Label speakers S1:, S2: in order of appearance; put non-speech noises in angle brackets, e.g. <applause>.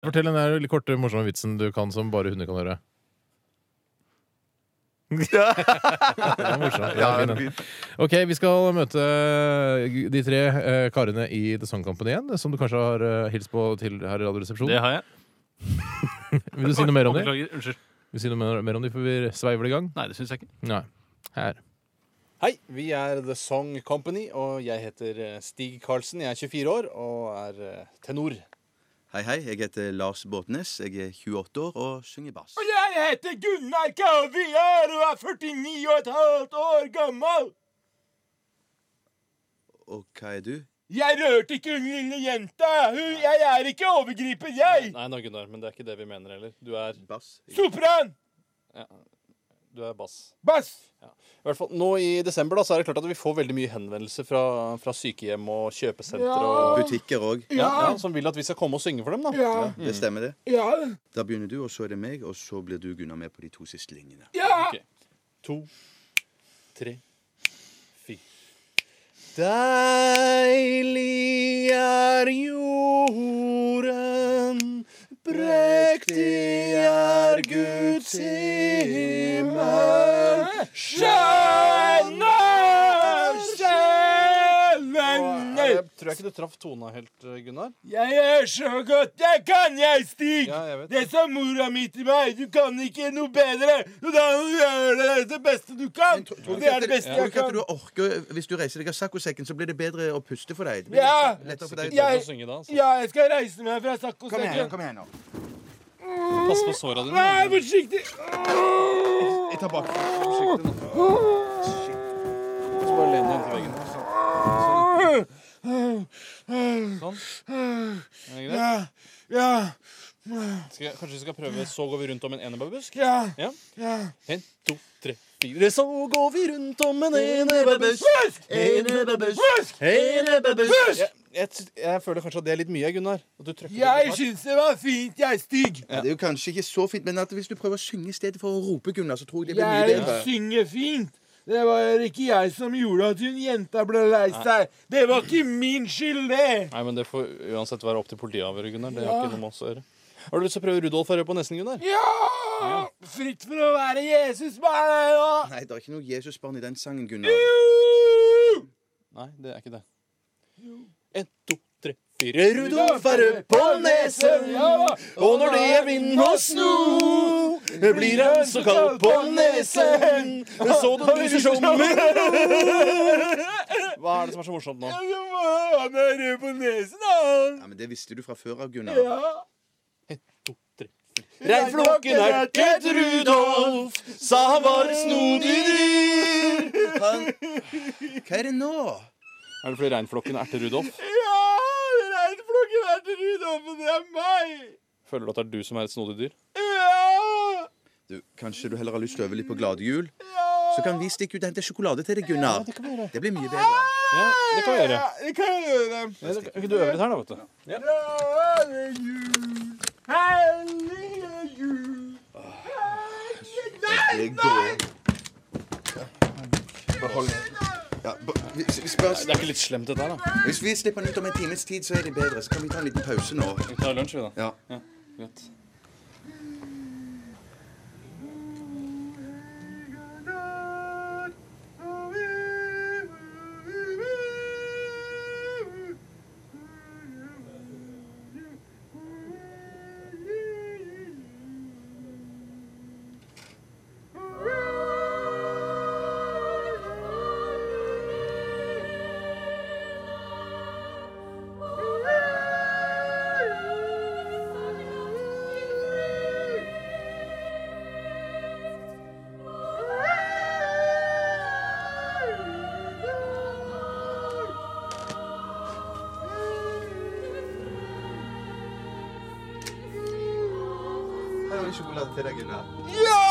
S1: Fortell den der litt korte, morsomme vitsen du kan som bare hunder kan høre. Det er <laughs> morsomt. Det
S2: Ja,
S1: er fin, den. ok, vi skal møte de tre eh, karene i The Song Company igjen, som du kanskje har eh, hilst på til her i
S3: Det
S1: Radioresepsjonen.
S3: har jeg.
S1: Vil du si noe mer om dem?
S3: Beklager. Unnskyld.
S1: Vil du si noe mer- mer om dem, for vi sveiver det i gang?
S3: Nei, det syns jeg ikke.
S1: Nei. Her.
S4: Hei, vi er The Song Company, og jeg heter eh, Stig Karlsen. Jeg er 24 år og er eh, tenor.
S2: Hei, hei. Jeg heter Lars Båtnes. Jeg er 28 år og synger bass.
S4: Jeg heter Gunnar Kaviar og er 49 og et halvt år gammel.
S2: Og hva er du?
S4: Jeg rørte ikke hun lille jenta. jeg er ikke overgriper, jeg. Nei, nå, Gunnar, men det er ikke det vi mener heller. Du er
S2: Bass.
S4: Sopran! Du er bass. Bass! Ja. I hvert fall nå i desember da, så er det klart at vi får veldig mye henvendelser fra, fra sykehjem og kjøpesentre og
S2: Butikker òg.
S4: ja, ja, som vil at vi skal komme og synge for dem. da.
S2: Det stemmer, det.
S5: Ja,
S2: Da begynner du, og så er det meg, og så blir du, Gunnar, med på de to siste linjene.
S4: to, tre, fire. Deilig er jorden, prektig er Guds himmel. Skjønner, skjønner Jeg tror jeg ikke du traff tona helt, eh, Gunnar.
S5: jeg gjør så godt jeg kan, jeg, Stig!
S4: Ja, jeg vet.
S5: Det sa mora mi til meg. Du kan ikke noe bedre. Så da må du gjøre det, det beste du kan.
S2: Tror du
S5: Det
S2: ikke
S5: er det
S2: at-
S5: beste
S2: tror du
S5: jeg
S2: ikke at
S5: kan.
S2: du orker, Hvis du reiser deg av saccosekken, så blir det bedre å puste for deg. Det blir
S5: Ja.
S2: lett- lettere for deg.
S5: Ja.
S4: Jeg... Synge, da, altså. så.
S5: Ja, jeg skal reise meg
S2: Kom
S5: fra
S2: igjen,
S5: saccosekken.
S2: kom igjen nå.
S4: Pass på såra dine.
S5: Nei,
S4: da.
S5: forsiktig!
S2: Jeg tar bak.
S4: Så bare len deg inntil veggen. Sånn. Er det greit?
S5: Ja, ja,
S4: Skal jeg, kanskje vi skal prøve 'Så går vi rundt om en enebærbusk'?
S5: ja,
S4: Ja.
S5: ja.
S4: En, to, tre, fire. Så går vi rundt om en enebærbusk.
S5: Fusk!
S2: Enebabusk!
S4: Jeg, jeg, sy- jeg føler kanskje at det er litt mye, Gunnar. At du trykker
S5: Jeg
S4: litt hardt.
S5: syns det var fint, jeg, Stig.
S2: Ja, det er jo kanskje ikke så fint, men at hvis du prøver å synge i stedet for å rope, Gunnar, så tror jeg det blir mye
S5: Jeg
S2: bedre.
S5: synger fint. Det var ikke jeg som gjorde at hun jenta ble lei seg. Det var ikke min skyld, det.
S4: Nei, men Det får uansett være opp til politiavhøret, Gunnar. Det har ikke noe med oss å gjøre. Har du lyst til å prøve Rudolf er rød på nesten, Gunnar?
S5: Ja! Fritt for å være Jesus barn her nå.
S2: Nei, det er ikke noe Jesusbarn i den sangen, Gunnar.
S5: Jo!
S4: Nei, det er ikke det. En, to, tre, fire. Rudolf er rød på
S5: på
S4: nesen,
S5: nesen, ja.
S4: og når det er vind og sno, blir han så kald på nesen, så det lyser som en Hva er det som er så morsomt nå?
S5: Han er rød på nesen, han.
S2: Ja, men Det visste du fra før av, Gunnar.
S5: Ja.
S4: Reinflokken er tett Rudolf, sa han var et snodig dyr.
S2: Han... Hva er det nå?
S4: Er det fordi reinflokken er til Rudolf?
S5: Ja, reinflokken er til Rudolf, og det er meg.
S4: Føler du at det er du som er et snodig dyr?
S5: Ja!
S2: Du, Kanskje du heller har lyst til å øve litt på Glade jul? Så kan vi stikke ut og hente sjokolade til deg, Gunnar. Det blir mye bedre.
S4: Ja, det kan vi gjøre.
S5: Ja, det kan jeg gjøre.
S4: Ja, det- Kan ikke du øve litt her, da, vet du?
S5: Glade jul, hellige jul.
S2: Det går. Behold. Ja, be- hvis, hvis, bare-
S4: Det er ikke litt slemt, dette her, da?
S2: hvis vi slipper den ut om en times tid, så er det bedre. Så kan vi ta en liten pause nå.
S4: Vi tar lunsj, vi, da.
S2: Ja.
S4: Greit.
S2: Her har vi sjokolade til deg, Gunnar.
S5: Ja!